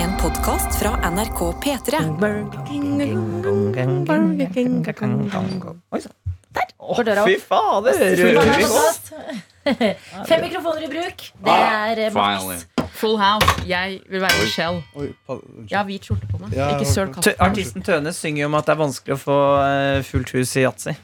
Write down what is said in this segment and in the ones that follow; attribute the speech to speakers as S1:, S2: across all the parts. S1: En podkast fra NRK P3.
S2: Oi sann.
S3: For døra
S2: Fy
S3: opp.
S2: fader!
S3: Faen,
S2: Rører
S3: det
S2: vi
S3: er
S2: oss?
S3: fast. Fem mikrofoner i bruk. Det er eh,
S4: Finally.
S3: maks.
S5: Full House. Jeg vil være Michelle. Jeg har hvit skjorte på meg.
S4: Ja,
S5: Ikke søl
S2: Tø-
S5: katten.
S2: Artisten Tønes synger om at det er vanskelig å få eh, fullt hus i yatzy.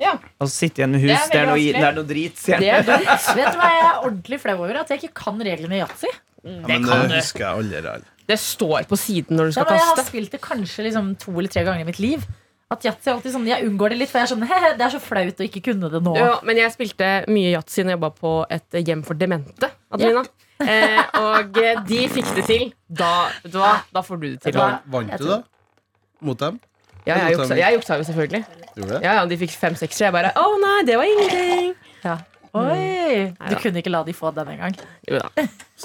S5: Ja.
S2: Å sitte igjen med hus,
S5: Det er
S2: det er, noe,
S5: veldig
S2: det er noe drit, sier
S3: Det
S2: han.
S3: er dumt. Vet du hva jeg er ordentlig flau over? At jeg ikke kan reglene i yatzy.
S4: Ja, men
S5: Det kan
S4: det
S5: du.
S4: husker jeg aldri. Ral.
S5: Det står på siden når du
S3: Ja,
S5: skal
S3: men jeg har
S5: kaste.
S3: spilt det kanskje liksom to eller tre ganger i mitt liv. At yatzy er alltid sånn Jeg unngår det litt, for jeg er sånn He-he, det er så flaut å ikke kunne det nå.
S5: Ja, men jeg spilte mye yatzy når jeg jobba på et hjem for demente. Adelina. Eh, og eh, de fikk det til. Da, vet du hva? da får du det til.
S3: Hva?
S4: Vant
S3: Jeg
S4: du,
S3: tror-
S4: da? Mot dem?
S5: Ja, jeg juksa, jeg juksa jo selvfølgelig.
S4: sånn. Gjorde du det?
S5: Ja, ja, De fikk fem seksere. Jeg bare Å nei, det var ingenting.
S3: Oi! Du
S5: Mm. Neida.
S3: kunne ikke la de få den engang.
S5: Jo da.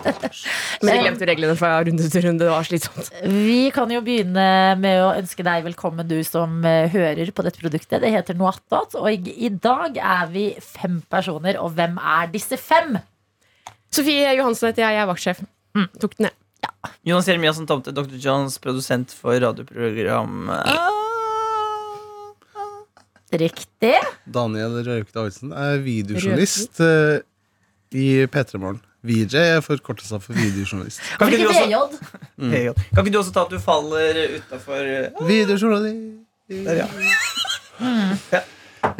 S5: Men jeg glemte reglene fra runde til runde. Det var slitsomt.
S3: Vi kan jo begynne med å ønske deg velkommen, du som eh, hører på dette produktet. Det heter Noattot, og i, i dag er vi fem personer. Og hvem er disse fem?
S5: Sofie Johansen heter jeg. Jeg er vaktsjef. Tok den, jeg.
S2: Jonas Jeremiassen Tomte, Dr. Johns, produsent for radioprogram
S3: Riktig.
S4: Daniel Røykte Ahlsen er videojournalist eh, i P3 Morgen. VJ er forkortelsen for videojournalist.
S2: Kan
S3: Hvorfor
S2: ikke, du
S3: ikke
S2: også,
S3: VJ?
S2: Hei, Jon. kan ikke du også ta at du faller utafor
S4: Videojournalist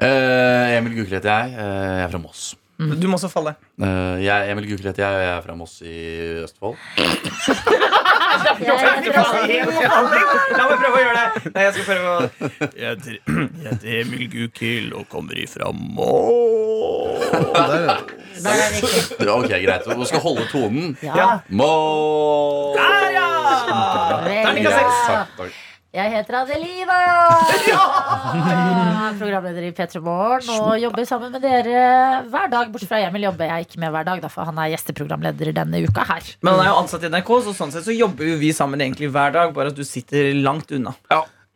S6: Eh, Emil Gukild heter jeg. Eh, jeg er fra Moss.
S2: Du må også falle.
S6: Eh, jeg er Emil Gukild heter jeg, og jeg er fra Moss i Østfold.
S3: Jeg heter også-
S2: La meg prøve å gjøre det! Nei, jeg skal prøve å
S7: Jeg heter, jeg heter Emil Gukild og kommer ifra Mål.
S4: Der, ja.
S3: Der er det ikke.
S6: Ok, greit. Du skal holde tonen.
S3: Ja,
S6: Moss!
S3: veldig
S2: Terningkast
S3: bra.
S6: Yes, takk, takk.
S3: Jeg heter Adelina! Programleder i P3 Morgen og jobber sammen med dere hver dag. Bortsett fra Emil jobber jeg ikke med hver dag, da, for han er gjesteprogramleder denne uka her.
S2: Men han er jo ansatt i NRK, så sånn sett så jobber jo vi sammen egentlig hver dag, bare at du sitter langt unna.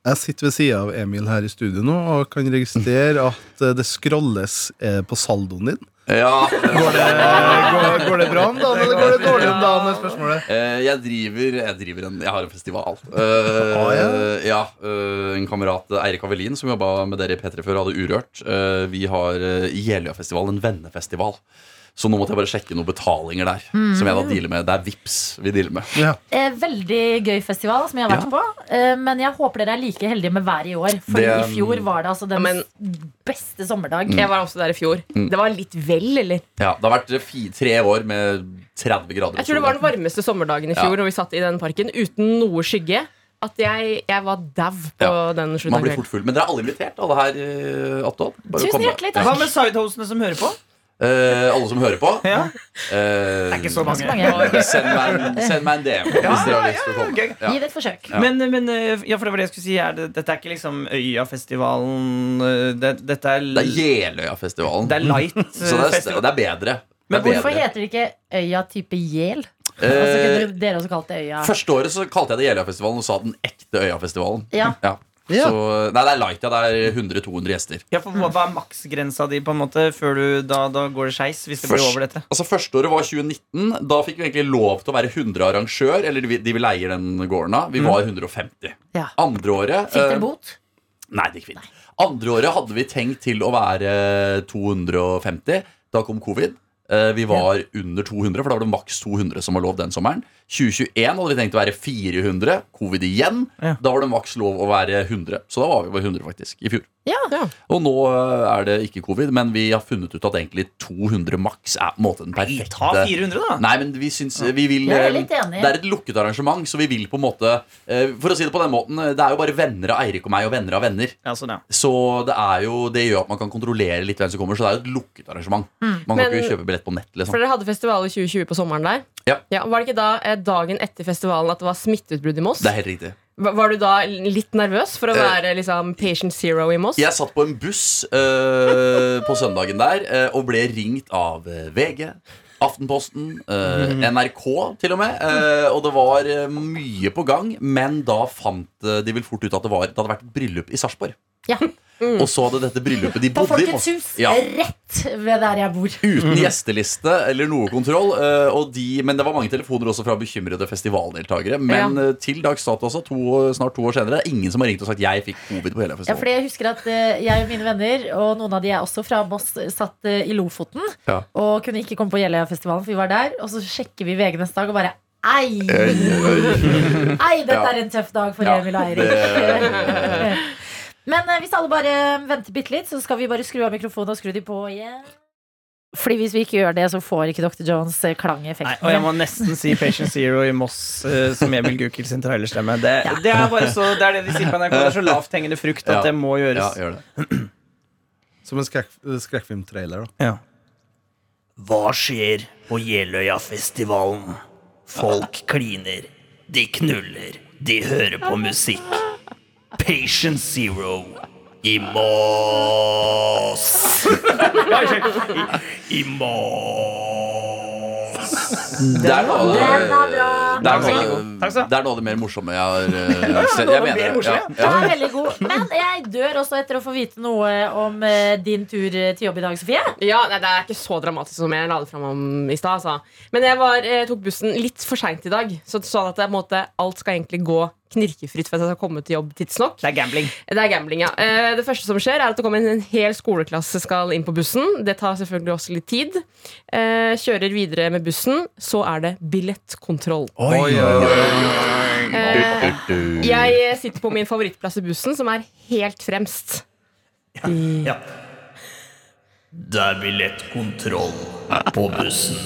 S4: Jeg sitter ved sida av Emil her i studio nå og kan registrere at eh, det scrolles eh, på saldoen din.
S6: Ja,
S4: Går det, Eh, går, går det bra om dagen, eller går det dårlig om dagen? er spørsmålet.
S6: eh, jeg driver, jeg driver en Jeg har en festival. Eh,
S4: Ah, ja.
S6: ja, eh, en kamerat, Eirik Avelin, som jobba med dere i P3 før, hadde Urørt. Eh, vi har eh, Jeløya-festival, en vennefestival. Så nå måtte jeg bare sjekke noen betalinger der. Som jeg da dealer med. Det er Vips vi dealer med.
S4: Ja.
S3: Eh, veldig gøy festival som jeg har vært
S6: Ja.
S3: på. Eh, men jeg håper dere er like heldige med været i år. For
S6: Det,
S3: i fjor var det altså den
S5: Ja, men-
S3: beste
S6: Mm.
S4: Mm.
S3: sommerdag.
S5: Jeg var også der i fjor. Det var litt vel, eller?
S6: Ja, Det har vært eh, fi- tre år med 30 grader.
S5: Jeg tror det var den varmeste sommerdagen i fjor Når vi satt i den parken uten noe skygge. At jeg, jeg var dau på
S6: Ja.
S5: den
S6: Man blir
S5: slutten.
S6: fort full. Men dere er alle invitert, alle her. eh, Otto. Bare
S3: Tusen
S6: kom.
S3: hjertelig
S2: Hva
S3: takk.
S2: med sidehostene som hører på?
S6: Eh, alle som hører på.
S2: Ja.
S6: Eh,
S2: Det er ikke så mange.
S3: Mange.
S6: Send meg en, send meg en DM hvis dere har lyst til å komme.
S2: gøy.
S3: Gi det et forsøk.
S2: Men, men eh, ja, for det var det jeg skulle si. Er det, dette er ikke liksom Øyafestivalen. eh, Det, dette er,
S6: Det er
S2: l-
S6: Jeløya-festivalen.
S2: det er light eh,
S6: Så det er,
S2: festival.
S6: det er bedre.
S2: Men
S6: det er
S3: Hvorfor
S6: bedre.
S3: heter det ikke Øya type Gjel? Altså,
S6: Eh,
S3: kunne dere også kalt det Øya?
S6: Første året så kalte jeg det Jeløya-festivalen og sa den ekte Øya-festivalen.
S3: Ja.
S4: Ja.
S6: Så, eh, nei, det er light, ja. Det er 100-200 gjester.
S2: Ja, for hva hva er maksgrensa di, på en måte, før du Da, da går det skeis, hvis det blir
S6: Først-
S2: over dette?
S6: Altså Førsteåret var 2019. Da fikk vi egentlig lov til å være 100 arrangør. Eller de vi- de vi leier den gården av. Vi var 150.
S3: Ja.
S6: Andre året
S3: Fikk
S6: eh,
S3: dere bot?
S6: Nei, det gikk fint. Andre året hadde vi tenkt til å være 250. Da kom covid. Eh, Vi var under 200, for da var det maks 200 som var lov den sommeren. 2021 hadde vi tenkt å være 400. Covid igjen.
S2: Ja.
S6: Da var det maks lov å være 100. Så da var vi bare 100, faktisk, i fjor.
S3: Ja.
S6: Og nå eh, er det ikke covid, men vi har funnet ut at egentlig 200 maks er på en måte den perfekte
S2: Ta 400, da.
S6: Nei, men vi syns vi vil
S3: Jeg er
S6: eh,
S3: litt enig.
S6: Det er et lukket arrangement, så vi vil på en måte eh, For å si det på den måten, eh, det er jo bare venner av Eirik og meg og venner av venner.
S2: Ja, sånn, ja.
S6: Så det er jo Det gjør at man kan kontrollere litt hvem som kommer, så det er jo et lukket arrangement.
S3: Mm.
S6: Man kan
S5: Men-
S6: ikke kjøpe billett på nett,
S5: For
S6: liksom.
S5: dere hadde festival i 2020 på sommeren der.
S6: Ja.
S5: var det ikke da eh, dagen etter festivalen at det var smitteutbrudd i Moss?
S6: Det er helt riktig.
S5: Var var du da litt nervøs for å
S6: Eh,
S5: være liksom, patient zero i Moss?
S6: Jeg satt på en buss eh, på søndagen der eh, og ble ringt av eh, VG. Aftenposten, eh, NRK til og med. eh, og det var eh, mye på gang, men da fant eh, de vel fort ut at det, var, det hadde vært bryllup i Sarpsborg.
S3: Ja. Mm.
S6: Og så hadde dette bryllupet de
S3: På
S6: bodde i.
S3: Folkets hus, Mm.
S6: Ja.
S3: rett ved der jeg bor.
S6: Uten gjesteliste eller noe kontroll. eh, Og de, men det var mange telefoner også fra bekymrede festivaldeltakere. Men eh, til dags dato, altså, to, snart to år senere, det er ingen som har ringt og sagt 'jeg fikk covid' på hele
S3: Ja,
S6: festivalen.
S3: fordi jeg husker at eh, jeg og mine venner, og noen av de er også fra Moss, satt eh, i Lofoten
S6: Ja.
S3: og kunne ikke komme på Jeløya-festivalen, for vi var der. Og så sjekker vi VG neste dag og bare Ei! Ei, dette
S6: Eh, Ja.
S3: er en tøff dag for
S6: Ja,
S3: Emil og
S6: det-
S3: Eirik. Men eh, hvis alle bare venter bitte litt, så skal vi bare skru av mikrofonen og skru de på igjen. Fordi hvis vi ikke gjør det, så får ikke Dr. Jones eh,
S2: Nei, og jeg
S3: klangeffekten.
S2: må nesten si Patient Zero i Moss eh, som Emil Gukild sin trailerstemme. Det, det, er bare så, det er det de sier på NRK. Det er så lavthengende frukt at
S6: Ja.
S2: det må gjøres.
S6: Ja, gjør det.
S4: Som en skrekk, skrekkfilmtrailer. da.
S2: Ja.
S7: Hva skjer på Jeløyafestivalen? Folk kliner, de knuller, de hører på musikk. Patient Zero i Mås. I, i Mås.
S6: Der var det Der
S2: Den var
S6: var det-
S2: Takk skal du ha.
S6: Det er noe av det mer morsomme jeg har eh, sett. Jeg mener det. Ja,
S3: Den
S6: ja.
S3: er veldig god. Men jeg dør også etter å få vite noe om eh, din tur eh, til jobb i dag, Sofie.
S5: Ja, nei, Det er ikke så dramatisk som jeg la det fram om i stad. Altså. Men jeg var, eh, tok bussen litt for seint i dag, så sånn at jeg, på en måte, alt skal egentlig gå knirkefritt for at jeg skal komme til jobb tidsnok.
S2: Det er gambling.
S5: Det er gambling, ja. Eh, Det første som skjer, er at det kommer en- en hel skoleklasse skal inn på bussen. Det tar selvfølgelig også litt tid. Eh, Kjører videre med bussen. Så er det billettkontroll.
S4: Oi, oi, oi.
S5: Eh, Jeg sitter på min favorittplass i bussen, som er helt fremst.
S7: Det er billettkontroll på bussen.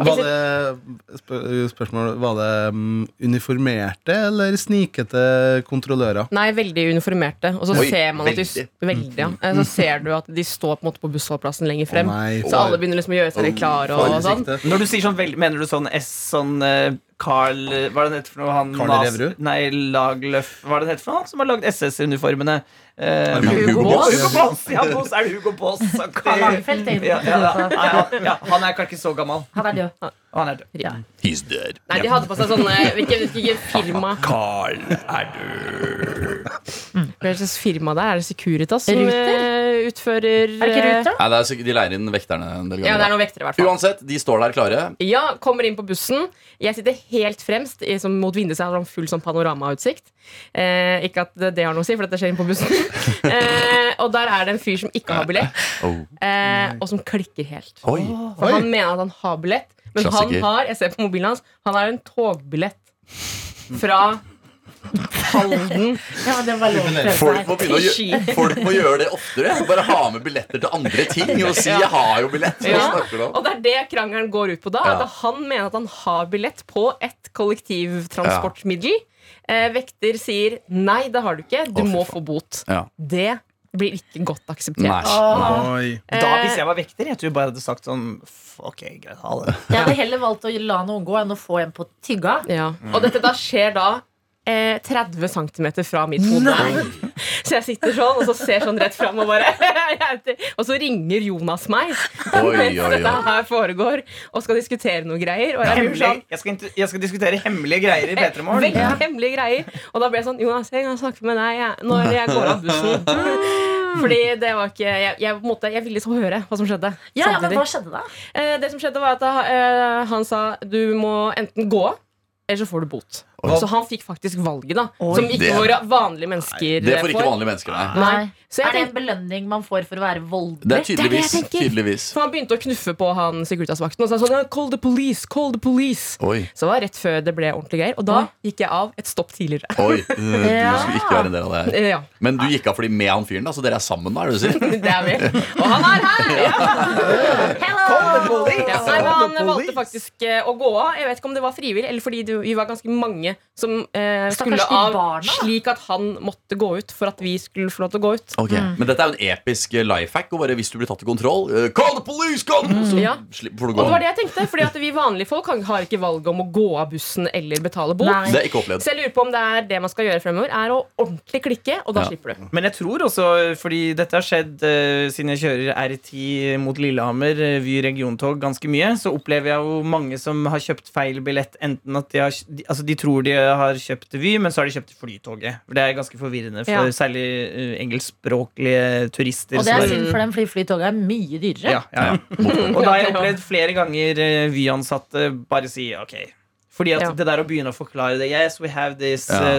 S4: Var det spør, spørsmål, var det mm, uniformerte eller snikete kontrollører?
S5: Nei, veldig uniformerte. Og så
S6: Oi,
S5: ser man at de,
S6: veldig.
S5: veldig, ja. Eh, Så ser du at de står på, en måte på bussholdeplassen lenger frem.
S4: Mm. Å nei.
S5: så alle begynner liksom å gjøre seg litt klare. Og, og sånn.
S4: Fargesikte.
S2: Når du sier sånn vel, Mener du sånn S sånn eh, Carl Hva er det han heter for noe? Han,
S4: Carl
S2: Nas-
S4: Reverud?
S2: Nei, Lagløf Hva er det han heter for noe? Han som har lagd SS-uniformene? Eh,
S6: Hugo
S2: Å,
S6: Boss.
S2: Hugo Boss! Ja, Boss er det Hugo Boss. Så-
S3: Karl Lagerfeld, tenkte
S2: ja,
S3: jeg.
S2: ja, ja, ja, ja. Han er kanskje ikke så gammel.
S3: Han er død.
S2: Og Han er død.
S6: He's dead.
S5: Nei, de hadde på seg sånne Hvilket hvilke firma
S7: Carl er død.
S5: Mm. Hva slags firma det er? Er det Securitas som
S3: Ruter?
S5: eh, utfører eh,
S3: Er det ikke Ruth, da?
S6: Nei, det er, sikkert- de leier inn vekterne en del
S5: Ja, det er
S6: ganger. da.
S5: noen vektere, i hvert fall.
S6: Uansett, de står der klare.
S5: Ja, kommer inn på bussen. Jeg sitter helt fremst i- som mot vinduet, så jeg har sånn full sånn panoramautsikt. Eh, ikke at det, det har noe å si, for dette skjer inn på bussen. eh, og der er det en fyr som ikke har billett,
S6: Oh.
S5: eh, og som klikker helt.
S6: Oi.
S5: For
S4: Oi.
S5: han mener at han har billett, men
S6: Klassiker.
S5: han har jeg ser på mobilen hans, han har en togbillett fra Halden.
S3: Ja, men det var lov å prøve
S6: Folk
S3: seg.
S6: må, begynne å gjø- folk må gjøre det oftere. Bare ha med billetter til andre ting og si 'jeg har jo billett'. Hva
S5: Ja.
S6: snakker du om?
S5: Og det er det krangelen går ut på da.
S6: Ja.
S5: At han mener at han har billett på et kollektivtransportmiddel. Eh, vekter sier nei, det har du ikke, du
S6: Å, fy
S5: må
S6: faen.
S5: få bot.
S6: Ja.
S5: Det blir ikke godt akseptert.
S6: Nei. nei.
S4: Oi.
S2: Da, hvis jeg var vekter, jeg tror jeg bare hadde sagt sånn "F- Ok, greit, ha det.
S3: Jeg hadde heller valgt å la noen gå enn å få en på tygga.
S5: Ja. Og dette da skjer da eh, 30 cm fra mitt hode. Så jeg sitter sånn og så ser sånn rett fram og bare jeg er ute. Og så ringer Jonas meg
S6: Oi,
S5: mens
S6: oi,
S5: dette
S6: oi.
S5: her foregår og skal diskutere noen greier. Og jeg blir sånn
S2: Hemmelig. Jeg skal, inter- jeg skal diskutere hemmelige greier i P3
S5: Veldig
S2: Morgen.
S5: hemmelige greier. Og da ble jeg sånn Jonas, jeg kan snakke med deg jeg, når jeg går av bussen.
S3: Ah.
S5: Fordi det var ikke Jeg, jeg, på en måte, jeg ville liksom høre hva som skjedde.
S3: Ja, ja, men
S5: samtidig.
S3: hva skjedde da?
S5: Eh, det som skjedde, var at eh, han sa du må enten gå av, eller så får du bot. Så han fikk faktisk valget, da. Som ikke
S6: Det-
S5: våre vanlige mennesker
S6: Det får
S5: eh,
S6: ikke vanlige mennesker, nei.
S5: Nei. Så
S3: Er
S5: jeg
S3: det en
S5: tenkte,
S3: belønning man får for å være
S6: Det er
S3: voldelig?
S6: tydeligvis.
S5: jeg tenker.
S6: tydeligvis.
S5: for han begynte å knuffe på han Securitas-vakten og sa sånn Call the police! Call the police!
S6: Oi.
S5: Så det var rett før det ble ordentlige greier. Og da gikk jeg av et stopp tidligere.
S6: Oi. Eh, Du skulle ikke være en del av det her.
S5: Eh, ja.
S6: Men du gikk av fordi med han fyren, da, så dere er sammen nå? er det du sier?
S5: Det er vi. Og han er her!
S3: Hello!
S5: Ja, nei, men han valgte faktisk eh, å gå av. Jeg vet ikke om det var frivillig, eller fordi det, vi var ganske mange som eh,
S3: Stakkars
S5: skulle
S3: de
S5: av,
S3: barna.
S5: slik at han måtte gå ut for at vi skulle få lov til å gå ut.
S6: Ok, Men dette er jo en episk eh, life hack. Bare hvis du blir tatt i kontroll eh, Call the police! Call the police!
S5: Mm. Ja.
S6: Så slipp- får du
S5: Og
S6: gå.
S5: det var det jeg tenkte, fordi at vi vanlige folk kan- har ikke valget om å gå av bussen eller betale bot.
S3: Nei.
S6: Det er ikke opplevd.
S5: Så jeg lurer på om det er det man skal gjøre fremover, er å ordentlig klikke, og da
S6: Ja.
S5: slipper du.
S2: Men jeg tror også, fordi dette har skjedd eh, siden jeg kjører R10 mot Lillehammer, eh, Vy regiontog, ganske mye, så opplever jeg jo mange som har kjøpt feil billett. Enten at de har de- Altså, de tror tror de har kjøpt Vy, men så har de kjøpt Flytoget. For Det er ganske forvirrende for
S5: Ja.
S2: særlig eh, engelskspråklige turister.
S3: Og det
S2: som
S3: er
S2: er-
S3: synd for dem, fordi flytoget er mye dyrere.
S2: ja, ja, ja. Og da har jeg opplevd flere ganger eh, Vy-ansatte bare si ok. Fordi at
S5: Ja.
S2: det der å begynne å forklare det Yes, we have this eh,
S6: Ja.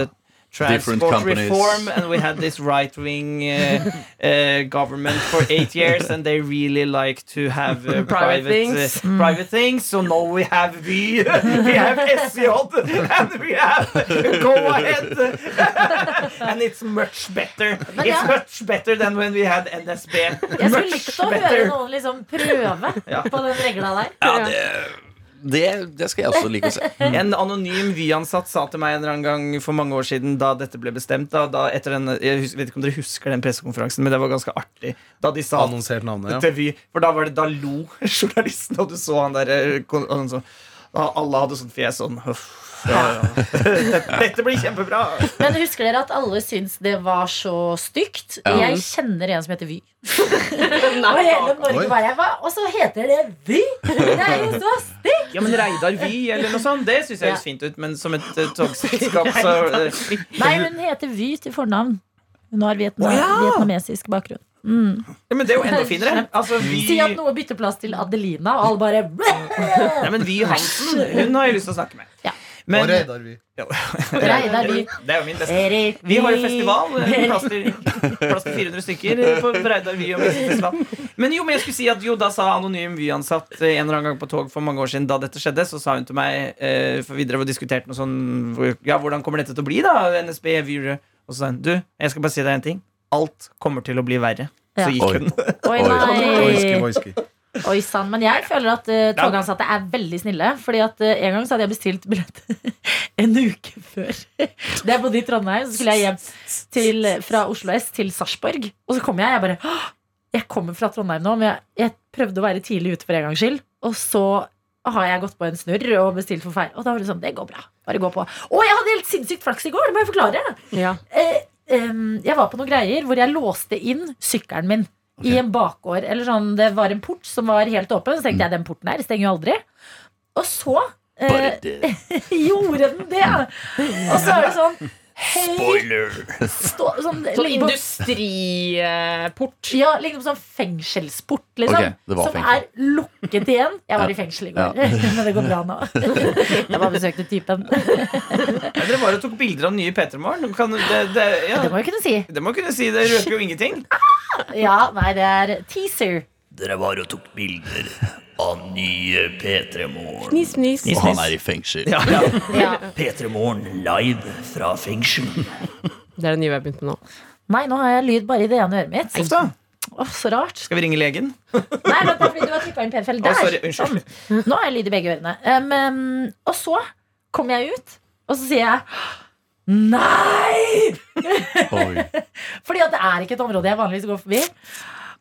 S2: transport
S6: Different companies.
S2: reform And we had this right-wing eh, eh, government for eight years And they really like to have eh, private,
S5: things.
S2: eh, private things So now we have Vy We have SJ And we have Go ahead And it's much better
S3: Men
S2: It's
S3: ja.
S2: much better than when we had NSB
S3: Jeg skulle
S2: Much
S3: likt å høre
S2: better.
S3: noen liksom prøve på den regla der.
S6: Ja, det, det, det skal jeg også like å se.
S2: En anonym Vy-ansatt sa til meg en eller annen gang for mange år siden da dette ble bestemt da, da etter den, Jeg hus- vet ikke om dere husker den pressekonferansen, men det var ganske artig. Da de sa
S4: Annonsert navnet, ja.
S2: til Vy, for da var det da lo journalisten, og du så han der eh, kon- og han så, da Alle hadde sånn fjes sånn «Huff, ja, ja. Dette, dette blir kjempebra!
S3: Men husker dere at alle syns det var så stygt?
S6: Ja.
S3: Jeg kjenner en som heter Vy. Og
S5: Nei,
S3: hele Norge
S4: Oi.
S3: bare jeg, Hva? Og så heter det Vy! Det er jo så stygt!
S2: Ja, men Reidar Vy eller noe sånt, det syns jeg høres fint ut, men som et eh, togselskap, så eh,
S3: Nei, hun heter Vy til fornavn. Hun har
S2: Å,
S3: vietna
S2: ja!
S3: vietnamesisk bakgrunn.
S2: ja, Men det er jo enda finere. Altså, Vy-
S3: Si at noe bytter plass til Adelina, og alle bare
S2: Nei, men Vy Hansen, hun har jeg lyst til å snakke med.
S3: Ja.
S4: Og
S2: Men,
S4: Reidar Vy.
S3: Reidar Vy.
S2: Det er Eh, jo min beste.
S3: Erik
S2: Vi har jo
S3: Vy.
S2: festival. eh, Plass til, plass til 400 stykker eh, på Breidar Vy. og Messe festival. Men jo, men jeg skulle si at jo, da sa anonym Vy-ansatt eh, en eller annen gang på tog for mange år siden da dette skjedde, så sa hun til meg eh, For vi drev og diskuterte noe sånn hvor- Ja, hvordan kommer dette til å bli, da? NSB, Vy Og så sa hun Du, jeg skal bare si deg en ting. Alt kommer til å bli verre.
S3: Ja.
S2: Så gikk
S6: Oi.
S2: hun.
S3: Oi,
S4: Oiski,
S3: nei.
S4: oiski.
S3: Oi sann. Men jeg føler at
S2: Ja.
S3: eh, togansatte er veldig snille. Fordi at eh, En gang så hadde jeg bestilt billett en uke før. Da jeg bodde i Trondheim, så skulle jeg hjem til, fra Oslo S til Sarpsborg. Og så kom jeg, jeg bare «Åh, Jeg kommer fra Trondheim nå, men jeg, jeg prøvde å være tidlig ute for en gangs skyld. Og så har jeg gått på en snurr og bestilt for feil. Og da var det sånn Det går bra. Bare gå på. Å, jeg hadde helt sinnssykt flaks i går! Det må jeg forklare.
S5: Ja.
S3: eh, em, Jeg var på noen greier hvor jeg låste inn sykkelen min I en bakgård Eller sånn, det var en port som var helt åpen Så
S6: Mm.
S3: tenkte jeg, den porten her stenger jo aldri Og så eh,
S6: Bare det.
S3: gjorde den det Og så er det sånn Hei, stå, sånn,
S5: Sånn eh,
S3: ligger på-
S5: industriport.
S3: ja, liksom sånn fengselsport, liksom.
S6: Ok, det var
S3: som
S6: fengsel.
S3: er lukket igjen. Jeg var
S6: Ja.
S3: i fengsel i går, men det går bra nå. Jeg bare besøkte typen.
S2: Ja, dere var og tok bilder av den nye Peter Morgen. Kan- Det, det, ja.
S3: Det må jeg kunne si.
S2: det må jeg kunne si. Det røper jo ingenting.
S3: Ja, nei, det er teaser.
S7: Dere var og tok bilder av nye P3morgen.
S5: Nis, nis.
S6: Og han er i fengsel.
S2: Ja, ja.
S3: Ja.
S7: P3morgen live fra fengsel.
S5: Det er det nye vi har begynt med nå.
S3: Nei, nå har jeg lyd bare i det ene øret mitt.
S2: Uff da.
S3: Åh, så rart.
S2: Skal vi ringe legen?
S3: Nei, men det er fordi du har trykket inn p Der!
S2: Å, sorry, unnskyld.
S3: Sånn. Nå har jeg lyd i begge ørene. Um, um, og så kommer jeg ut, og så sier jeg Nei!
S6: Oi.
S3: Fordi at det er ikke et område jeg vanligvis går forbi.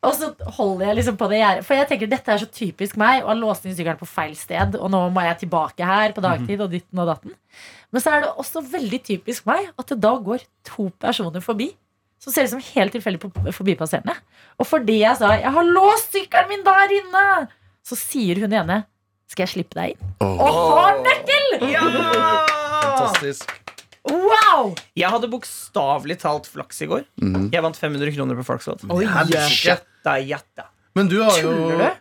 S3: Og så holder jeg liksom på det gjerdet. For jeg tenker dette er så typisk meg. Og har låst inn sykkelen på feil sted. Og nå må jeg tilbake her på dagtid. Og ditten og datten. Men så er det også veldig typisk meg at det da går to personer forbi. Som ser ut som helt tilfeldig på- forbipasserende. Og fordi jeg sa 'jeg har låst sykkelen min der inne', så sier hun ene 'skal jeg slippe deg inn'?
S6: Åh.
S3: Og har nøkkel!
S2: Ja!
S4: Fantastisk.
S3: Wow!
S2: Jeg hadde bokstavelig talt flaks i går. Jeg vant 500 kroner på Flakslodd.
S4: Helsike.
S2: Da jatta.
S4: Men du har jo
S2: Tuller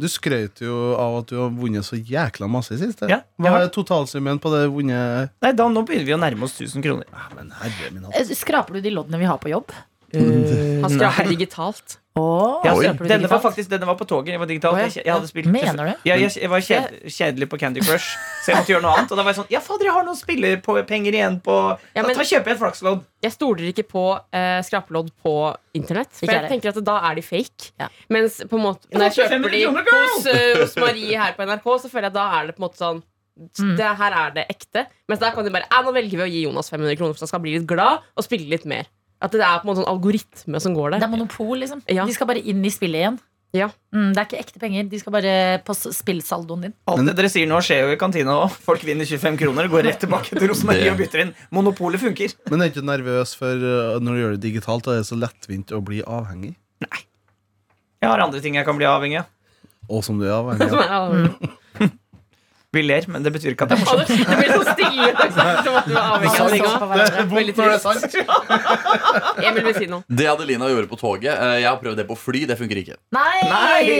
S4: Du skrøt jo av at du har vunnet så jækla masse sist.
S2: Ja, jeg
S4: Hva
S2: har
S4: er totalsummen på det vunnet?
S2: Nei, da, nå begynner vi å nærme oss 1000 kroner.
S4: Ah, Men herre min hatt.
S3: Eh, Skraper du de loddene vi har på jobb?
S5: Han skraper digitalt.
S3: Åh,
S2: Ja,
S3: skraper du
S2: denne var
S3: digitalt?
S2: faktisk denne var på toget. Jeg var digital.
S5: Å, ja.
S2: Jeg, jeg hadde spilt
S3: Mener du?
S2: Jeg, jeg, jeg var kjed, kjedelig på Candy Crush, så jeg måtte gjøre noe annet. Og da var jeg sånn Ja, fader, jeg har noen spillerpenger igjen på
S5: Ja,
S2: Da
S5: men-
S2: tar- kjøper jeg et Flakslodd.
S5: Jeg stoler ikke på eh, skrapelodd på internett. For
S3: Ikke
S5: jeg
S3: heller.
S5: tenker at da er de fake.
S3: Ja.
S5: Mens på en måte, når jeg
S2: 500
S5: kjøper de
S2: kroner, girl!
S5: hos, eh, hos Marie her på NRK, så føler jeg at da er det på en måte sånn det her er det ekte. Mens der kan de bare «Eh, Nå velger vi å gi Jonas 500 kroner, for han skal bli litt glad og spille litt mer. At det er på en måte sånn algoritme som går
S3: Det
S5: der.
S3: er monopol, liksom.
S5: Ja.
S3: De skal bare inn i spillet igjen.
S5: Ja.
S3: Mm, det er ikke ekte penger. De skal bare på s- spillsaldoen din.
S2: Alt det dere sier nå, skjer jo i kantina òg. Folk vinner 25 kroner og går rett tilbake til Rosemarie
S6: Det-
S2: og bytter inn. Monopolet funker.
S4: Men er du ikke nervøs for uh, når du gjør det digitalt, da er det så lettvint å bli avhengig?
S2: Jeg har andre ting jeg kan bli avhengig av.
S5: Mm.
S4: Og som du er avhengig av.
S5: Ja.
S2: Vi ler, men det betyr ikke at det er
S5: Og
S2: morsomt.
S5: det det blir så stille. Som at du er avhengig av senga. Veldig trist. Emil vil si noe.
S6: Det Adelina gjorde på toget eh, Jeg har prøvd det på fly, det funker ikke.
S3: Nei!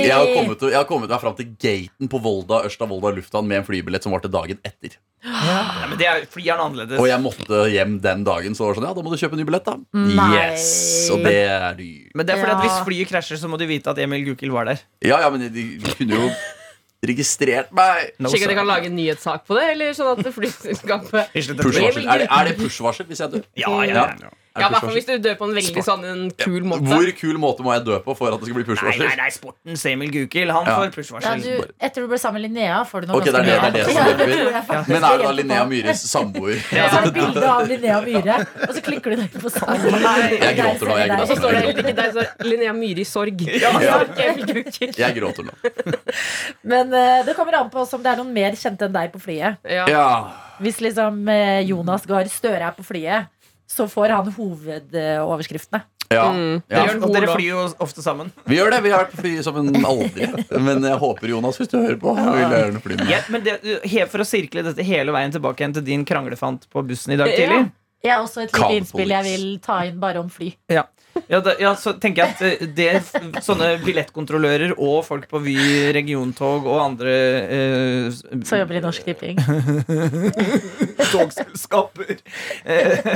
S6: Jeg har kommet, jeg har kommet meg fram til gaten på Volda Ørsta Volda lufthavn med en flybillett som var til dagen etter.
S2: Nei, men det er, fly er noe annerledes.
S6: Og jeg måtte hjem den dagen, så det var sånn, ja, da må du kjøpe en ny billett, da.
S5: Mm.
S3: Nei.
S6: Yes, Og det er dyrt.
S2: Men det er fordi at
S3: Ja.
S2: hvis flyet krasjer, så må du vite at Emil Gukild var der.
S6: Ja, ja, men de kunne jo registrert meg.
S2: No,
S5: Slik at
S2: sir.
S5: jeg kan lage en nyhetssak på det. Eller sånn at det flyselskapet
S2: Vi slutter på det.
S6: Push-varsel. Er det, er det push-varsel hvis jeg dør?
S2: Ja, ja, ja.
S5: Ja, i
S6: Er det
S5: hvert fall
S6: push-varsel?
S5: hvis du dør på en veldig sånn en kul måte.
S6: Hvor kul måte må jeg dø på for at det skal bli
S2: Nei, nei,
S6: push-varsel?
S2: nei, sportens Emil Gukild. Han
S6: Ja.
S2: får
S3: Ja,
S2: push-varsel.
S3: du, etter du ble sammen med Linnea, får du noe
S6: Ok, det er
S3: ganske
S6: det- det er
S3: bra.
S6: det som
S3: Ja, tror jeg faktisk
S6: Men er det da
S3: helt
S6: Linnea
S3: på.
S6: Myhres samboer? Altså,
S3: Ja, så er det bilde av Linnea Myhre, og så klikker du deg på sammen.
S2: Nei.
S6: Jeg gråter nå,
S5: Og så
S6: jeg gråter.
S5: står det heller ikke der så er Linnea Myhre i sorg.
S6: Ja.
S5: Ok, Emil Gukild.
S6: Jeg gråter nå.
S3: Men eh, det kommer an på om det er noen mer kjente enn deg på flyet.
S5: Ja.
S6: Ja.
S3: Hvis liksom eh, Jonas Gahr Støre er på flyet, så får han hovedoverskriftene.
S6: ja.
S5: Mm. Det
S6: Ja.
S5: gjør
S2: Og
S5: den
S2: dere
S5: god,
S2: flyr jo ofte sammen.
S6: Vi gjør det. Vi har vært på fly som en aldri. Men jeg håper Jonas, hvis du hører på, han vil gjerne fly med.
S2: Ja, men det, he- for å sirkle dette hele veien tilbake igjen til din kranglefant på bussen i dag
S5: Ja.
S2: tidlig
S3: Jeg har også et lite
S6: Kaldt
S3: innspill jeg
S6: politisk.
S3: vil ta inn bare om fly.
S2: Ja, ja, da, ja så tenker jeg at eh, det, sånne billettkontrollører og folk på Vy, regiontog og andre eh, s-
S3: Så jobber i Norsk Tipping.
S2: togselskaper eh,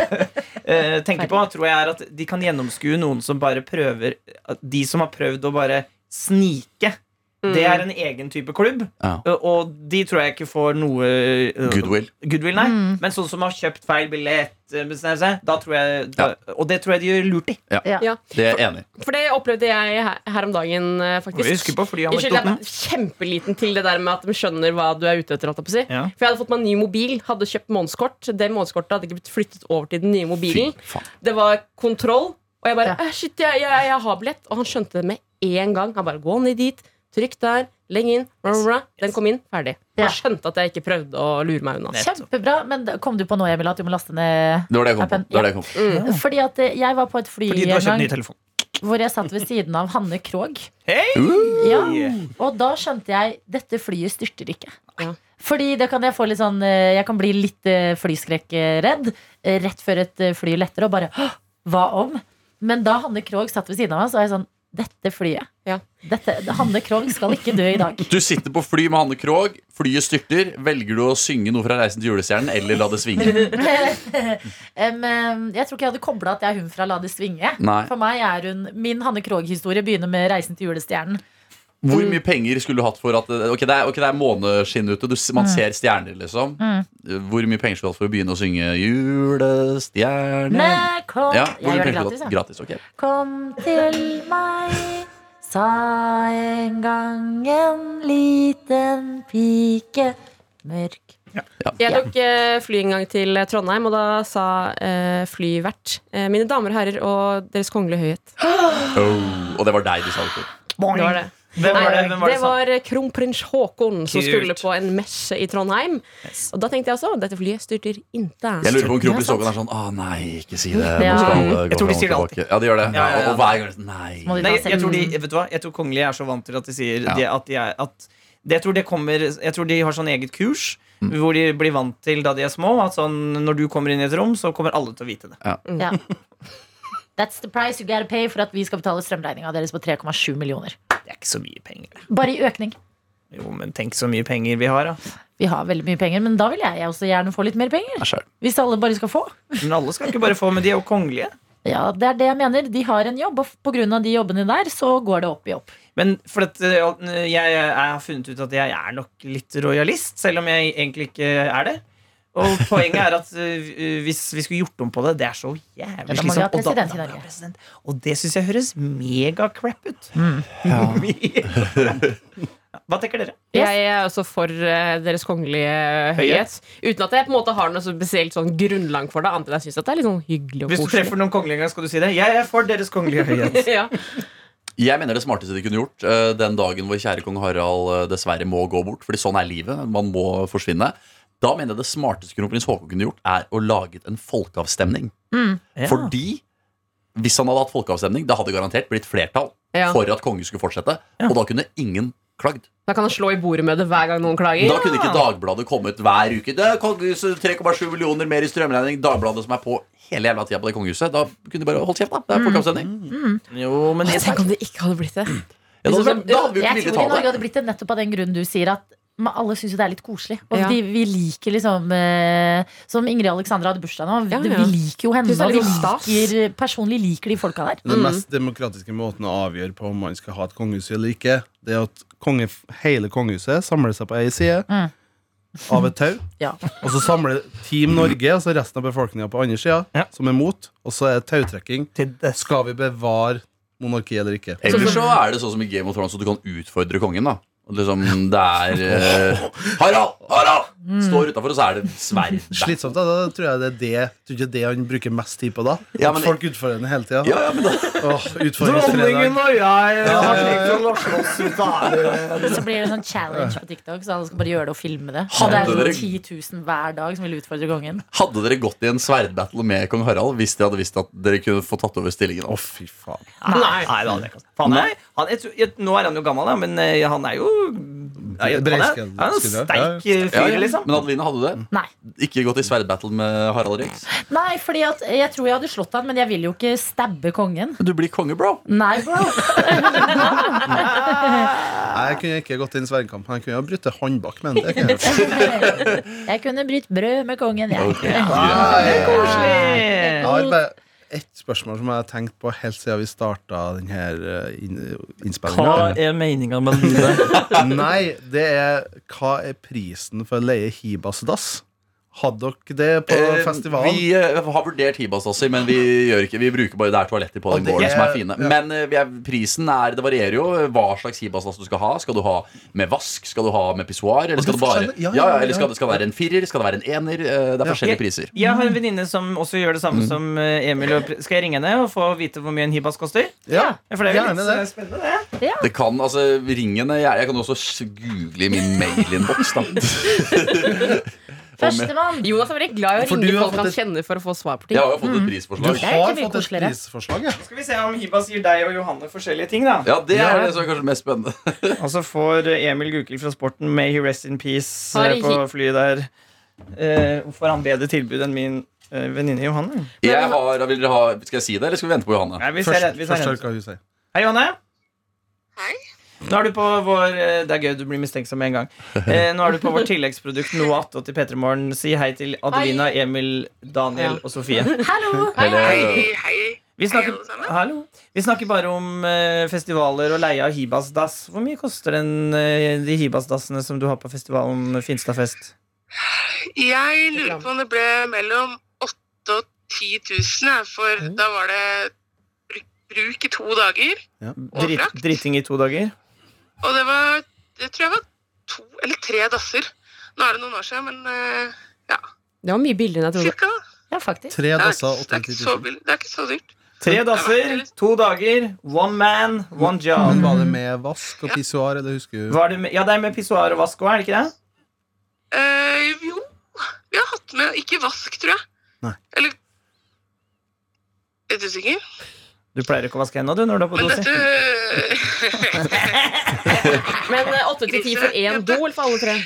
S2: eh, tenker på, tror jeg er at de kan gjennomskue noen som bare prøver at De som har prøvd å bare snike. Det er
S5: Mm.
S2: en egen type klubb,
S6: Ja.
S2: eh, og de tror jeg ikke får noe eh,
S6: Goodwill.
S2: goodwill, nei.
S5: Mm.
S2: Men sånne som har kjøpt feil billett, eh, bestemmer seg, da tror jeg, da, og det tror jeg de gjør lurt i.
S6: Det er jeg enig i.
S5: For det opplevde jeg her, her om dagen, eh,
S2: Vi husker
S5: faktisk.
S2: på
S5: Unnskyld, jeg
S2: flyanekdoten.
S5: er kjempeliten til det der med at de skjønner hva du er ute etter. holdt jeg på å si.
S2: Ja.
S5: For jeg hadde fått meg en ny mobil, hadde kjøpt månedskort. Det månedskortet hadde ikke blitt flyttet over til den nye
S6: Fy
S5: mobilen.
S6: faen.
S5: Det var kontroll. Og jeg bare
S3: Ja.
S5: «Eh, Shit, jeg, jeg, jeg har billett. Og han skjønte det med en gang. Han bare gå ned dit, trykk der, legg inn. Bra, bra, bra. Den kom inn, ferdig.
S3: Ja.
S5: Han skjønte at jeg ikke prøvde å lure meg unna.
S3: Kjempebra. Men da- kom du på nå, Emil, at du må laste ned
S6: Det var det jeg kom på. Det var det jeg kom på.
S3: Fordi at eh, jeg var på et fly
S2: Fordi du har kjøpt
S3: en
S2: ny
S3: gang
S2: telefon.
S3: hvor jeg satt ved siden av Hanne Krogh.
S2: Hei!
S6: Uh.
S3: Ja, og da skjønte jeg dette flyet styrter ikke.
S5: Ja.
S3: Fordi det kan jeg få litt sånn eh, Jeg kan bli litt eh, flyskrekkredd eh, rett før et eh, fly letter, og bare «Hå, Hva om? Men da Hanne Krogh satt ved siden av meg, så var jeg sånn Dette flyet.
S5: Ja.
S3: Dette, Hanne Krogh skal ikke dø i dag.
S6: Du sitter på fly med Hanne Krogh, flyet styrter. Velger du å synge noe fra Reisen til julestjernen eller la det svinge?
S3: Em, em, jeg tror ikke jeg hadde kobla at jeg er hun fra La det svinge.
S6: Nei.
S3: For meg er hun Min Hanne Krogh-historie begynner med Reisen til julestjernen.
S6: Hvor
S2: Mm.
S6: mye penger skulle du hatt for at eh, Ok, det er, ok, det er måneskinn ute, du, s-
S2: Mm.
S6: man ser stjerner, liksom. Hvor mye penger skulle du hatt for å begynne å synge julestjerne?
S3: Nei, kom
S6: Ja,
S3: Jeg
S6: hvor mye
S3: gjør det
S6: penger
S3: gratis,
S6: skulle
S3: jeg.
S6: du hatt? Gratis, ok.
S3: Kom til meg, sa en gang en liten pike. Mørk.
S5: Jeg tok eh, fly en gang til eh, Trondheim, og da sa eh, flyvert eh, Mine damer og herrer og Deres kongelige høyhet.
S6: Oh, og det var deg du sa det til.
S5: Det var det.
S2: Hvem var det?
S5: Nei,
S2: Hvem var det, som-
S5: var eh, kronprins Haakon som
S2: Kult.
S5: skulle på en messe i Trondheim. Og da tenkte jeg også dette flyet styrter inte.
S6: Jeg lurer på om Kronprins Haakon er sånn Å nei, ikke si det. Nå
S3: Ja.
S6: skal alle
S2: Jeg
S6: gå
S2: tror de
S6: fram og
S2: sier det
S6: tilbake. Ja, de gjør det.
S2: Ja, ja, ja.
S6: Og, og hver gang er det sånn, Nei.
S3: Må de
S2: Nei,
S3: ta
S2: jeg
S3: selv-
S2: tror de, vet du hva? Jeg tror kongelige er så vant til at de sier
S6: Ja.
S2: det at de er at det jeg, tror det kommer, jeg tror de har sånn eget kurs hvor de blir vant til da de er små. At sånn, når du kommer inn i et rom, så kommer alle til å vite det.
S3: ja. That's the price you gotta pay for at vi skal betale strømregninga deres på 3,7 millioner.
S2: Det er ikke så mye penger.
S3: Bare i økning.
S2: Jo, men tenk så mye penger vi har, da.
S3: Vi har veldig mye penger, men da vil jeg også gjerne få litt mer penger.
S6: Ja, skjønner.
S3: Hvis alle bare skal få.
S2: Men alle skal ikke bare få, men de er jo kongelige.
S3: Ja, det er det jeg mener. De har en jobb, og pga. de jobbene der, så går det opp i opp.
S2: Men for at eh, jeg, jeg har funnet ut at jeg er nok litt rojalist, selv om jeg egentlig ikke er det. Og poenget er at eh, hvis vi skulle gjort om på det Det er så
S3: da
S2: jævlig
S3: må vi ha
S2: slitsomt. Og, da-
S3: president
S2: da må vi
S3: i Norge.
S2: ha president. og det syns jeg høres megacrap ut.
S3: Mm.
S2: Ja. Hva tenker dere?
S3: Yes.
S5: Jeg er også for eh, Deres kongelige høyhet.
S2: Høyhet.
S5: Uten at jeg på en måte har noe så spesielt sånn grunnlag for det, annet enn jeg syns det er litt sånn hyggelig og
S2: Hvis du treffer noen kongelige en gang, skal du si det. Jeg er for Deres kongelige høyhet.
S5: ja.
S6: Jeg mener det smarteste de kunne gjort eh, den dagen vår kjære kong Harald eh, dessverre må gå bort, fordi sånn er livet, man må forsvinne. Da mener jeg det smarteste kronprins Haakon kunne gjort, er å lage en folkeavstemning.
S2: Ja.
S6: Fordi hvis han hadde hatt folkeavstemning, det hadde garantert blitt flertall
S5: Ja.
S6: for at kongen skulle fortsette. Og da kunne ingen klagd.
S5: Da kan han slå i bordet med det hver gang noen klager.
S6: Da kunne ikke Dagbladet kommet hver uke. Det er kongehuset 3,7 millioner mer i strømregning. Dagbladet som er på hele jævla tida på det kongehuset. Da kunne de bare holdt kjeft, da. Det er folkeavstemning.
S2: Jo, men
S5: Åh, Tenk om det ikke hadde blitt det.
S6: Ja, da, hadde- da hadde vi jo
S3: Jeg tror i Norge
S6: ikke villet ta det.
S3: hadde blitt det nettopp av den grunnen du sier at ma- alle syns jo det er litt koselig. Og
S5: Ja.
S3: de, vi liker liksom eh, Som Ingrid Alexandra hadde bursdag nå.
S5: Ja,
S3: vi-
S5: ja.
S3: Vi liker jo henne.
S5: Synes det er
S3: Og vi
S5: litt stas.
S3: liker, personlig liker de folka der.
S4: Den mest demokratiske måten å avgjøre på om man skal ha et kongehus eller ikke, det er at konge, hele kongehuset samler seg på ei side
S3: Mm.
S4: av et tau.
S3: Ja.
S4: Og så samler Team Norge, altså resten av befolkninga på andre sida,
S2: Ja.
S4: som er mot. Og så er det tautrekking.
S2: til det
S4: Skal vi bevare monarkiet eller ikke?
S6: Eller så er det sånn som i Game of Thrones, så du kan utfordre kongen, da. Og Liksom, det er eh, Harald! Harald! Står utafor, og så er det sverd. der.
S4: Slitsomt, da. Da tror jeg det er det, tror du ikke det han bruker mest tid på da.
S6: Ja, men-
S4: At folk utfordrer henne hele tida.
S6: Ja, ja, men da,
S4: Åh, utfordres fredag.
S2: og jeg eh,
S4: har tenkt
S2: å slåss ut av det.
S3: Så blir det en sånn challenge på TikTok, så alle skal bare gjøre det og filme det.
S6: Hadde
S3: Og det er
S6: dere-
S3: sånn 10 000 hver dag som vil utfordre kongen.
S6: hadde dere gått i en sverdbattle med kong Harald hvis dere hadde visst at dere kunne få tatt over stillingen?
S4: Å, fy faen.
S2: Nei, det hadde jeg ikke. altså. Faen, nei. Han, jeg, tror- jeg, nå er han jo gammel, da, men eh, han er jo Nei, han er, han er en
S4: Breiskudd,
S2: sterk eh,
S6: Ja,
S2: fyr,
S6: ja.
S2: liksom.
S6: Men Adeline, hadde du det?
S3: Nei.
S6: Mm. Ikke gått i sverdbattle med Harald Rex?
S3: Nei, fordi at jeg tror jeg hadde slått han, men jeg vil jo ikke stabbe kongen.
S6: Du blir konge, bro.
S3: Nei, bro.
S4: Nei, jeg kunne ikke gått inn i sverdkamp. Jeg kunne ha brutt håndbak, men det kunne jeg ikke.
S3: Jeg kunne brytt brød med kongen, jeg.
S6: Ok, greit.
S3: Koselig.
S2: Eh,
S4: Jeg har bare ett spørsmål som jeg har tenkt på helt siden vi starta denne innspillinga.
S2: er meninga med livet?
S4: Nei, det er hva er prisen for å leie Hibas dass? Hadde dere det på
S6: Eh,
S4: festivalen?
S6: Vi eh, har vurdert Hibastasser, men vi gjør ikke Vi bruker bare det er toaletter på
S4: Og
S6: den
S4: det-
S6: gården som er fine.
S4: ja.
S6: Men eh, vi er, prisen er Det varierer jo eh, hva slags Hibastass du skal ha. Skal du ha med vask? Skal du ha med pissoar? Eller
S4: Og det
S6: skal
S4: er
S6: du bare
S4: forskjellig.
S6: Ja,
S4: Ja, ja,
S6: ja, eller skal det skal det være en firer? Skal det være en ener? Eh, Det er
S4: Ja.
S6: forskjellige priser.
S2: Jeg
S4: Mm.
S2: har en venninne som også gjør det samme som eh, Emil. Og pr- skal jeg ringe henne og få vite hvor mye en hibas koster?
S4: Ja,
S2: For det er jo
S4: Gjerne
S2: litt eh,
S4: det.
S2: spennende, det.
S6: Det kan, altså Ringene Jeg, jeg kan også s- google i min mailinnboks, da.
S3: Førstemann.
S5: Jonas er veldig glad i å
S4: For du
S5: ringe
S4: har
S5: folk
S4: fått
S5: han
S4: et-
S5: kjenner for å få svar på ting.
S6: Jeg har jo fått
S4: Du
S6: et prisforslag.
S3: Det er
S4: har
S3: ikke mye
S4: fått et
S3: koseligere.
S4: prisforslag, ja.
S2: Skal vi se om hibas gir deg og Johanne forskjellige ting, da.
S6: Ja, det er det som er kanskje mest spennende.
S2: Og så får eh, Emil Gukild fra Sporten May he rest in peace
S5: Har
S2: eh,
S5: hi-
S2: på flyet der. Eh, får han bedre tilbud enn min eh, venninne Johanne?
S6: Jeg har, vil dere ha, skal jeg si det, eller skal vi vente på Johanne?
S2: Nei, vi ser
S4: Først,
S2: rett, vi ser rett.
S4: først hør hva hun sier.
S2: Hei, Johanne.
S8: Hei.
S2: Nå er du på vår, eh, det er gøy, du blir mistenksom med en gang. Eh, nå er du på vårt tilleggsprodukt Noe attåt til P3 Morgen. Si hei til Adelina, Emil, Daniel
S5: Ja.
S2: og Sofie.
S3: Hallo.
S6: Eller,
S8: Hei, hei.
S2: Vi snakker,
S8: alle sammen.
S2: hallo. Vi snakker bare om eh, festivaler og leie av Hibasdass. Hvor mye koster den, eh, de Hibasdassene som du har på festivalen Finstadfest?
S8: Jeg lurer på om det ble mellom 8 og 10 000, jeg, for da var det br- bruk i to dager.
S2: Drit, driting i to dager?
S8: Og det var Det tror jeg var to eller tre dasser. Nå er det noen år siden, men eh,
S5: Det var mye billigere enn jeg trodde.
S8: cirka. da.
S3: Ja, faktisk.
S4: Tre
S8: Det er,
S4: dasser,
S8: ikke, det,
S4: 80
S8: er ikke så,
S4: 000.
S8: bill- det er ikke så dyrt.
S2: Tre dasser, to dager, one man, one job.
S4: Var det med vask og pissoar, eller husker du?
S2: Var det med, ja, det er med pissoar og vask òg, er det ikke det?
S8: Eh, jo, vi har hatt med Ikke vask, tror jeg.
S4: Nei.
S8: Eller Er du sikker?
S2: Du pleier ikke å vaske hendene du, når du er på
S8: Men
S2: do? si.
S8: dette
S5: Men eh, åtte til ti for én do, eller for alle tre?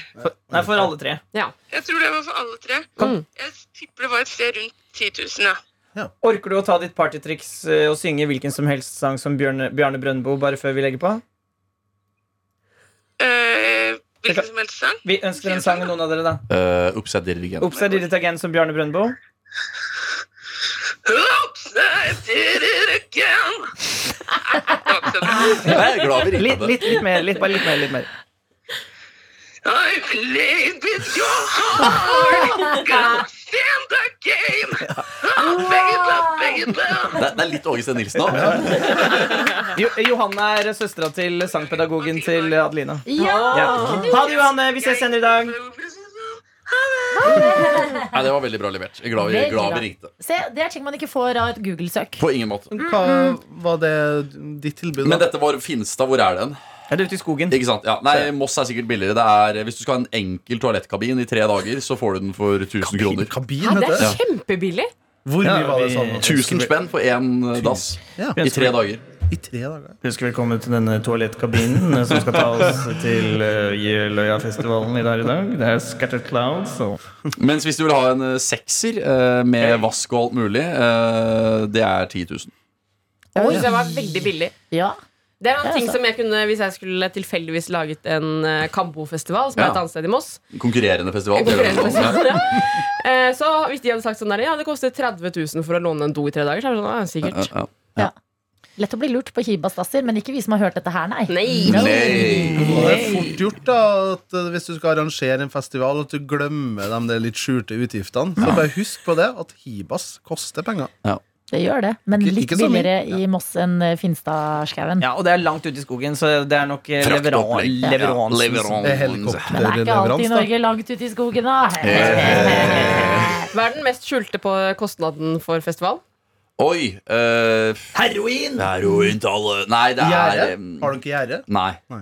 S2: Nei, for alle tre.
S8: Jeg tror det var for alle tre.
S5: Mm.
S8: Jeg tipper det var et sted rundt 10 000, ja.
S2: Orker du å ta ditt partytriks eh, og synge hvilken som helst sang som Bjørne, Bjarne Brøndbo bare før vi legger på?
S8: Eh, hvilken som helst sang.
S2: Vi ønsker en sang av noen av dere, da.
S6: eh, Upside dirigent.
S2: Observer ditt agent som Bjarne Brøndbo.
S8: Oops, I did it again.
S6: Jeg er glad vi
S2: Litt,
S6: ringte det.
S2: litt, litt mer. Litt, bare litt mer, litt mer.
S8: I played with your heart. Gotta stand the game. Oh, baby, baby.
S6: Det, det er litt Åge Steen Nilsen òg.
S2: Jo, Johanne er søstera til sangpedagogen til Adelina. Ja.
S5: Ja!
S2: Ha det, Johanne. Vi ses senere i dag.
S6: Det var veldig bra levert. Jeg er Glad vi,
S3: Veldig
S6: glad
S3: bra.
S6: vi ringte.
S3: Se, det er ting man ikke får av et Google-søk.
S6: På ingen måte.
S4: Hva var det ditt tilbud?
S6: Men
S4: da?
S6: dette var Finstad. Hvor er den?
S2: Er du ute i skogen?
S6: Ikke sant? Ja. Nei, Moss er sikkert billigere. Det er, hvis du skal ha en enkel toalettkabin i tre dager, så får du den for 1000 kroner.
S4: Kabin,
S5: Ja, det
S4: heter
S5: er
S4: det.
S5: kjempebillig.
S4: Hvor mye
S2: Ja,
S4: var det
S2: vi-
S4: sånn?
S6: 1000 spenn for én eh, dass
S4: Ja.
S6: i tre dager.
S4: I tre dager.
S7: Husk velkommen til denne toalettkabinen eh, som skal ta oss til eh, Jeløya-festivalen i dag i dag. Det er Scattered Clouds. Og
S6: Mens hvis du vil ha en eh, sekser eh, med vask og alt mulig, eh, det er 10 000.
S5: Jeg synes jeg var veldig billig.
S3: Ja.
S5: Det er en
S3: Det er
S5: annen ting
S3: sant.
S5: som jeg kunne, Hvis jeg skulle tilfeldigvis laget en eh, Kambo-festival, som
S6: Ja.
S5: er et annet sted i Moss
S6: Konkurrerende festival.
S5: Konkurrensfestival, ja. Eh, Så hvis de hadde sagt sånn der, ja, det koster 30 000 for å låne en do i tre dager, så er det sånn, ja,
S6: Ja,
S5: sikkert.
S6: ja.
S3: Lett å bli lurt på Kibastasser, men ikke vi som har hørt dette her, nei.
S5: Nei.
S6: Nei.
S4: Og Det er fort gjort da at eh, hvis du skal arrangere en festival og at du glemmer de der litt skjulte utgiftene, så bare husk på det at Hibas koster penger.
S3: Det gjør det. Men
S4: Ikke-
S3: litt
S4: ikke så mye.
S3: billigere i Moss enn eh, Finstadskauen.
S2: Ja, og det er langt ute i skogen, så det er nok eh, leveran-
S6: Fraktopplegg.
S2: leveransen.
S6: Leveransen.
S4: Det er
S3: Men det er ikke alltid i
S4: helikopterleveranse.
S3: Norge langt ute i skogen, da.
S5: Hva er den mest skjulte på kostnaden for festival?
S6: Oi! eh,
S2: Heroin!
S6: Heroin til alle Nei, det er um,
S4: Gjerde?
S6: em,
S4: Har du ikke gjerde?
S6: Nei.
S4: Nei.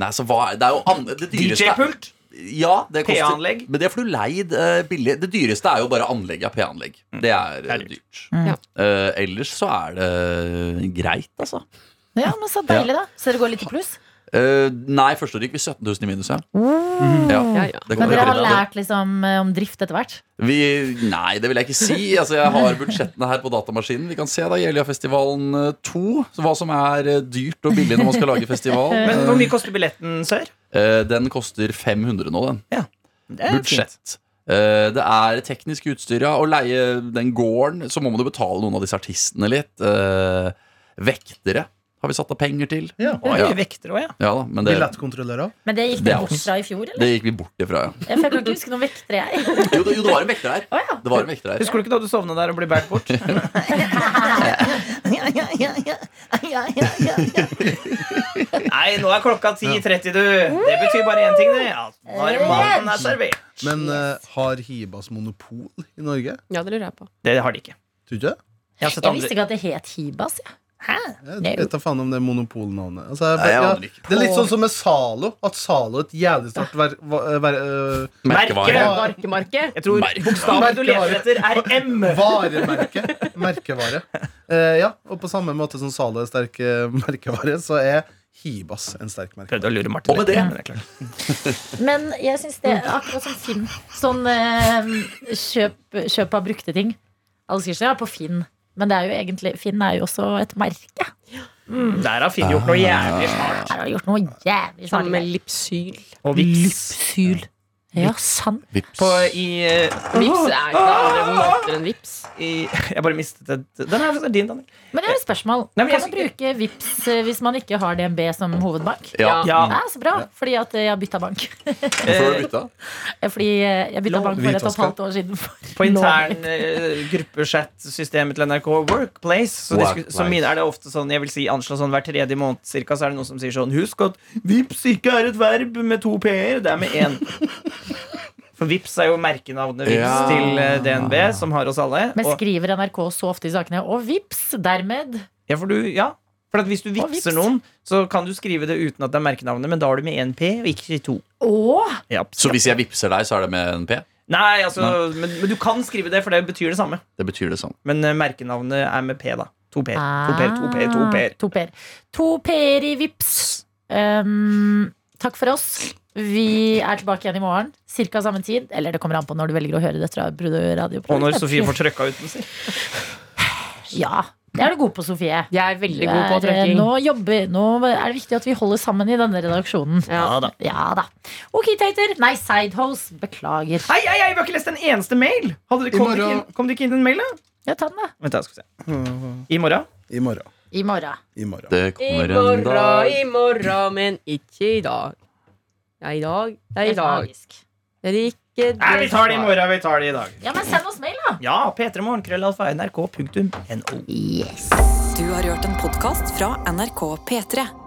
S6: Nei, så hva er Det er jo an- det dyreste er-
S2: DJ-pult?
S6: Ja, det koster
S2: PA-anlegg?
S6: Men det får du leid eh, billig. Det dyreste er jo bare anlegg av PA-anlegg. Det er eh,
S7: Det er dyrt.
S6: dyrt.
S3: Mm.
S5: Ja.
S6: Eh, ellers så er det greit, altså.
S3: Ja, men så deilig, da. Så dere går litt i pluss?
S6: Eh, nei, første år gikk vi 17 000 i minus, ja. ja.
S5: Ja, ja.
S6: Det
S3: Men
S6: kommer
S3: dere har
S6: til å-
S3: lært liksom eh, om drift etter hvert?
S6: Vi, nei, det vil jeg ikke si. Altså, jeg har budsjettene her på datamaskinen. Vi kan se da Jeløyafestivalen eh, 2. så Hva som er eh, dyrt og billig når man skal lage festival.
S2: Men hvor mye koster billetten, sør?
S6: Eh, den koster 500 nå, den.
S2: Det er fint.
S6: Budsjett. Eh, det er teknisk utstyr, ja. Å leie den gården, så må man jo betale noen av disse artistene litt. Eh, vektere har vi satt av penger til.
S4: Ja.
S2: Oi,
S6: Ah, Ja.
S2: vekter også, ja.
S6: Ja da, men det,
S4: Billettkontrollører.
S3: Men det gikk
S6: Det
S3: det
S6: er
S3: bort
S6: oss.
S3: fra i fjor, eller?
S6: det gikk vi bort ifra, ja.
S3: For jeg kan ikke huske noen vektere, jeg.
S6: Jo, det, jo, det var en vekter
S3: Å
S6: her.
S3: ja.
S6: Det var en vekter her.
S2: Husker du ikke da du sovna der og ble båret bort? Nei, nå er klokka 10.30, du. Det betyr bare én ting, det. At når maten er servert.
S4: Men eh, har Hibas monopol i Norge?
S5: Ja, det lurer jeg på.
S2: Det har de ikke.
S4: Tror du ikke det?
S2: Jeg har sett
S3: Jeg
S2: andre
S3: visste ikke at det het Hibas. Ja.
S4: Jeg vet da faen om det er monopolnavnet. Altså, jeg,
S6: Nei, jeg
S4: ja,
S6: aner ikke.
S4: det er litt sånn som med Zalo. At Zalo er et jævlig sterkt ver... va- eh, ver- eh,
S6: Merkevare.
S4: Ja.
S5: Barkemarked.
S2: Jeg tror bokstaven du leter
S4: Merkevare.
S2: etter, er M.
S4: Varemerke. Merkevare. Eh, ja, og på samme måte som Zalo er sterk eh, merkevare, så er Hibas en sterk merkevare.
S2: Prøvde å lure Martin.
S6: Og med det-
S2: men er klart.
S3: Men jeg syns det er akkurat som Finn. Sånn eh, kjøp, kjøp av brukte ting. Alle sier sånn ja, på Finn. Men det er jo egentlig, Finn er jo også et merke.
S2: Der har Finn gjort
S6: Ah.
S2: noe jævlig smart.
S3: Her har de gjort noe jævlig
S5: Sammen Sånn med
S3: smart.
S5: Lipsyl.
S2: Og Vips.
S3: Lypsyl. Ja, sant.
S6: Vips.
S2: På, i, eh,
S5: Vips er ikke andre måter enn vips.
S2: i Jeg bare mistet et Den er din, Daniel.
S3: Men jeg har et spørsmål.
S2: Nei, men
S3: Kan
S2: jeg
S3: man
S2: skal
S3: bruke Vips eh, hvis man ikke har DNB som hovedbank?
S6: Ja.
S2: Ja. eh,
S3: Ja, så bra, fordi at eh, jeg har bytta bank.
S6: Hvorfor har du bytta?
S3: Fordi eh, jeg bytta
S4: Lov.
S3: bank for et og et
S4: Hvitvasker.
S3: halvt år siden.
S2: På intern eh, gruppechat-systemet til NRK Workplace Så, de sku- så
S6: Workplace.
S2: mine er det ofte sånn Jeg vil si anslå sånn hver tredje måned cirka, Så er det noen som sier sånn Husk at vips ikke er et verb med to p-er Det er med en For vips er jo merkenavnet vips
S6: Ja.
S2: til eh, DNB Som har oss alle
S3: Men
S2: og,
S3: skriver NRK så ofte i sakene Og vips, dermed
S2: ja, for, du, ja, for at hvis du
S3: Og vips.
S2: vipser noen Så kan du skrive det uten at det er merkenavnet Men da har du med en p og ikke to
S3: Åh,
S2: ja.
S6: Så hvis jeg vipser deg, så er det med en P?
S2: Nei, altså men, men du kan skrive det, for det betyr det samme
S6: Det betyr det sånn. samme.
S2: Men eh, merkenavnet er med p da To p-er,
S3: Ah,
S2: to p-er, to p-er, to p-er
S3: To per To per i vips um, Takk for oss Vi er tilbake igjen i morgen Cirka samme tid Eller det kommer an på når du velger å høre det fra Brudø Radio
S2: Og når Sofie får trøkka ut den sin.
S3: Ja, det er du god på Sofie
S5: Jeg er veldig god på
S3: Du er, eh,
S5: trøkking.
S3: nå, jobber, nå er det viktig at vi holder sammen i denne redaksjonen
S5: Ja.
S2: da.
S3: Ja da Ok, Teiter Nei, Sidehouse Beklager
S2: Hei, hei, hei, vi har ikke lest en eneste mail! Hadde det,
S4: I
S2: kom, det ikke
S4: morgen.
S2: inn, kom det ikke inn en mail, da?
S3: Ja, ta den da
S2: Vent, da skal vi se. I morgen?
S4: I morgen.
S3: I morgen
S4: I morgen.
S6: Det
S5: I
S6: kommer en
S5: morgen,
S6: dag
S5: i morgen, men ikke i dag. Ja, i dag. Det er i
S3: Helt
S5: dag.
S3: magisk.
S5: Det er ikke
S2: Nei, vi tar det i morgen. Vi tar det i dag.
S3: Ja, men send oss mail da
S2: Ja, p3morgen.krøllalfa.nrk.no.
S3: Yes
S1: Du har hørt en podkast fra NRK P3.